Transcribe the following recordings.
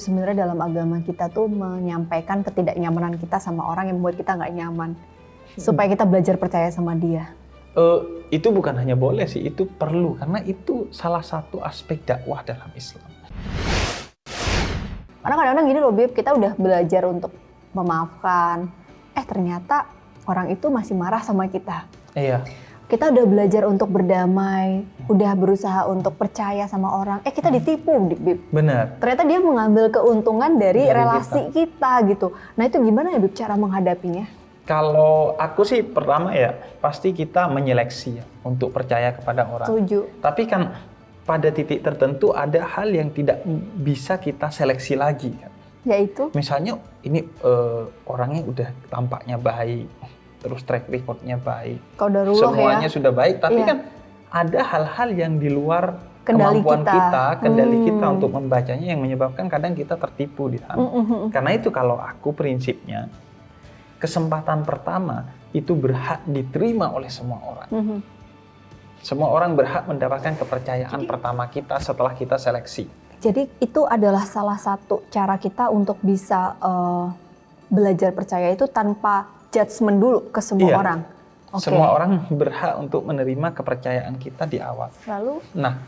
Sebenarnya dalam agama kita tuh menyampaikan ketidaknyamanan kita sama orang yang membuat kita nggak nyaman. Hmm. Supaya kita belajar percaya sama dia. Eh, itu bukan hanya boleh sih, itu perlu karena itu salah satu aspek dakwah dalam Islam. Karena kadang-kadang gini loh Bib, kita udah belajar untuk memaafkan. Eh ternyata orang itu masih marah sama kita. Iya, Kita udah belajar untuk berdamai, udah berusaha untuk percaya sama orang. Eh kita ditipu Bib. benar. Ternyata dia mengambil keuntungan dari, Dari kita. relasi kita. gitu. Nah itu gimana ya Bib cara menghadapinya? Kalau aku sih pertama ya pasti kita menyeleksi ya untuk percaya kepada orang. Setuju. Tapi kan pada titik tertentu ada hal yang tidak bisa kita seleksi lagi. kan. Yaitu? Misalnya ini eh, orangnya udah tampaknya baik, terus track recordnya baik, Kalau udah semuanya ya. sudah baik, tapi Iya. kan ada hal-hal yang di luar Kendali kemampuan kita. kita, kendali Hmm. kita untuk membacanya yang menyebabkan kadang kita tertipu di sana. Mm, mm, mm. Karena itu kalau aku prinsipnya kesempatan pertama itu berhak diterima oleh semua orang. Mhm. Semua orang berhak mendapatkan kepercayaan Jadi- pertama kita setelah kita seleksi. Jadi itu adalah salah satu cara kita untuk bisa eh, belajar percaya itu tanpa judgement dulu ke semua Iya. orang. Oke. Semua orang berhak untuk menerima kepercayaan kita di awal. Lalu Nah,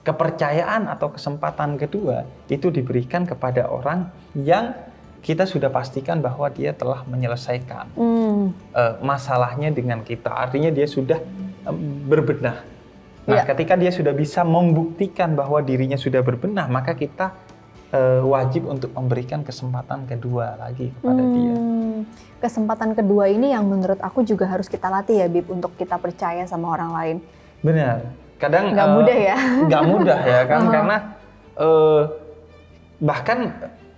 kepercayaan atau kesempatan kedua itu diberikan kepada orang yang kita sudah pastikan bahwa dia telah menyelesaikan hmm, eh, masalahnya dengan kita. Artinya dia sudah eh, berbenah. Iya. Nah, ketika dia sudah bisa membuktikan bahwa dirinya sudah berbenah, maka kita eh, wajib untuk memberikan kesempatan kedua lagi kepada dia. hmm, kesempatan kedua ini yang menurut aku juga harus kita latih ya Bib untuk kita percaya sama orang lain. Benar. Kadang Nggak eh, mudah ya. nggak mudah ya kan Uh-huh. karena eh, bahkan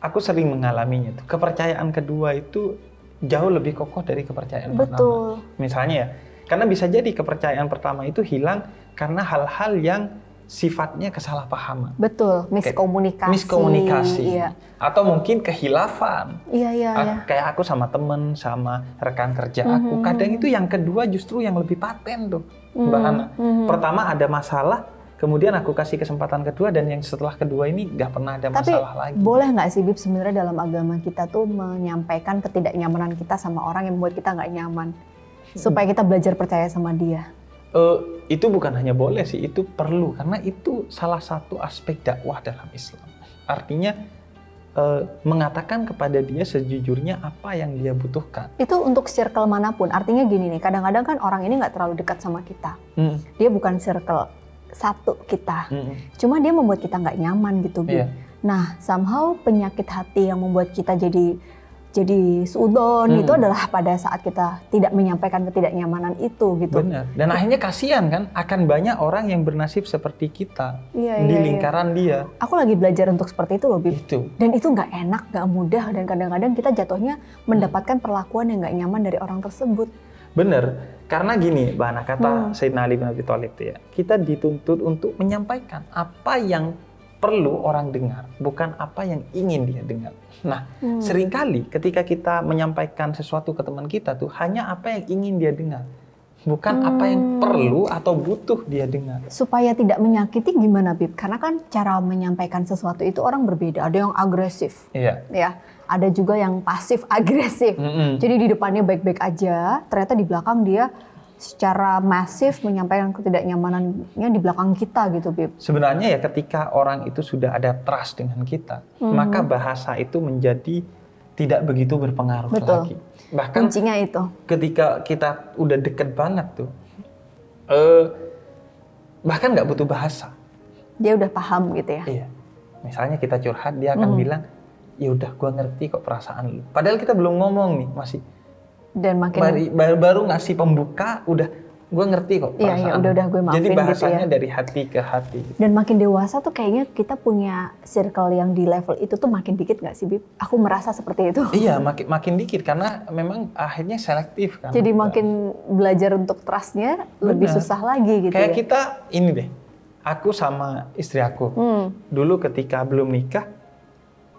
aku sering mengalaminya tuh. Kepercayaan kedua itu jauh lebih kokoh dari kepercayaan pertama. Betul. misalnya ya karena bisa jadi kepercayaan pertama itu hilang karena hal-hal yang sifatnya kesalahpahaman Betul, miskomunikasi. miskomunikasi Iya, atau mungkin kehilafan iya, iya. iya. Ah, kayak aku sama temen sama rekan kerja Mhm. aku kadang itu yang kedua justru yang lebih paten tuh bahan- mhm. pertama ada masalah kemudian aku kasih kesempatan kedua dan yang setelah kedua ini nggak pernah ada Tapi masalah lagi Boleh nggak sih Bib sebenarnya dalam agama kita tuh menyampaikan ketidaknyamanan kita sama orang yang membuat kita nggak nyaman Hmm. supaya kita belajar percaya sama dia. Eh, itu bukan hanya boleh sih, itu perlu karena itu salah satu aspek dakwah dalam Islam. Artinya eh, mengatakan kepada dia sejujurnya apa yang dia butuhkan. Itu untuk circle manapun. Artinya gini nih, kadang-kadang kan orang ini nggak terlalu dekat sama kita. Dia bukan circle satu kita. Mm-mm. Cuma dia membuat kita nggak nyaman gitu, Bib. Iya. Nah, somehow penyakit hati yang membuat kita jadi jadi sudon Hmm. itu adalah pada saat kita tidak menyampaikan ketidaknyamanan itu gitu. Benar. Dan akhirnya kasihan kan, akan banyak orang yang bernasib seperti kita Iya, di iya, Hmm. iya. lingkaran Aku lagi belajar untuk seperti itu loh, dia. Bib. Itu. dan itu nggak enak, nggak mudah, dan kadang-kadang kita jatuhnya mendapatkan perlakuan yang nggak nyaman dari orang tersebut. Benar. Karena gini, bahana Hmm. kata Sayyidina Ali bin Abi Thalib tuh ya, kita dituntut untuk menyampaikan apa yang perlu orang dengar, bukan apa yang ingin dia dengar. Nah, Hmm. Seringkali ketika kita menyampaikan sesuatu ke teman kita tuh hanya apa yang ingin dia dengar. Bukan apa Hmm. yang perlu atau butuh dia dengar. Supaya tidak menyakiti gimana, Bib? Karena kan cara menyampaikan sesuatu itu orang berbeda. Ada yang agresif, Iya. ya. Ada juga yang pasif agresif. Hmm. Jadi di depannya baik-baik aja, ternyata di belakang dia secara masif menyampaikan ketidaknyamanannya di belakang kita gitu, Bib. Sebenarnya ya ketika orang itu sudah ada trust dengan kita, Mhm. maka bahasa itu menjadi tidak begitu berpengaruh Betul. lagi. Bahkan Kuncinya itu. ketika kita udah deket banget tuh, eh, bahkan nggak butuh bahasa. Dia udah paham gitu ya. Iya. Misalnya kita curhat, dia akan Mhm. bilang, ya udah gue ngerti kok perasaan lu. Padahal kita belum ngomong nih, masih Dan makin bari- baru, baru ngasih pembuka, udah gue ngerti Iya, kok perasaan. iya, udah-udah gue lu." maafin Jadi gitu bahasanya ya. dari hati ke hati. dan makin dewasa tuh kayaknya kita punya circle yang di level itu tuh makin dikit nggak sih, Bib? Aku merasa seperti itu. Iya, makin makin dikit karena memang akhirnya selektif kan. Jadi kita. makin belajar untuk trustnya lebih Benar. susah lagi gitu kayak ya. kita ini deh. Aku sama istri aku Hmm, dulu ketika belum nikah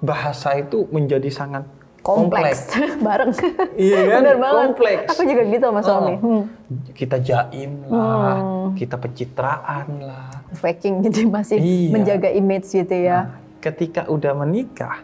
bahasa itu menjadi sangat kompleks, bareng. Iya kan? Bener banget. Kompleks. Aku juga gitu sama Oh. suami. Hmm, kita jaim lah, Hmm. kita pencitraan lah. faking jadi masih Iya. menjaga image gitu ya. Nah, ketika udah menikah,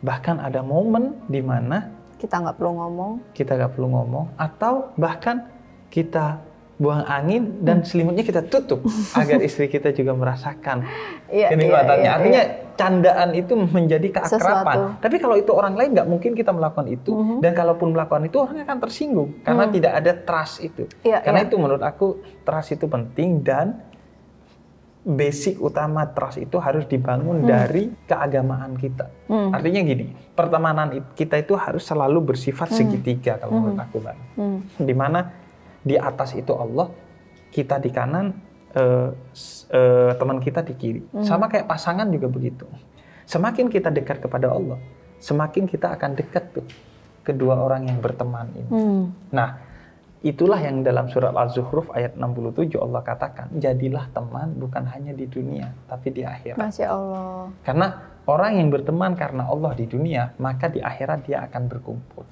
bahkan ada momen di mana Kita nggak perlu ngomong. kita gak perlu ngomong, atau bahkan kita buang angin Hmm. dan selimutnya kita tutup agar istri kita juga merasakan Iya, kenikmatannya. iya, iya, Artinya iya. candaan itu menjadi keakraban. Sesuatu. Tapi kalau itu orang lain nggak mungkin kita melakukan itu Mhm. dan kalaupun melakukan itu orang akan tersinggung karena Hmm. tidak ada trust itu. Iya, Karena iya. itu menurut aku trust itu penting dan basic utama trust itu harus dibangun dari keagamaan kita. Hmm, Artinya gini, pertemanan it- kita itu harus selalu bersifat Hmm. segitiga kalau Hmm. menurut aku, Bang hmm, di mana di atas itu Allah, kita di kanan, eh, s- eh, teman kita di kiri. Hmm. Sama kayak pasangan juga begitu. Semakin kita dekat kepada Allah, semakin kita akan dekat tuh kedua orang yang berteman ini. hmm. Nah, itulah yang dalam surat Al-Zuhruf ayat 67 Allah katakan, jadilah teman bukan hanya di dunia, tapi di akhirat. Masya Allah. Karena orang yang berteman karena Allah di dunia, maka di akhirat dia akan berkumpul.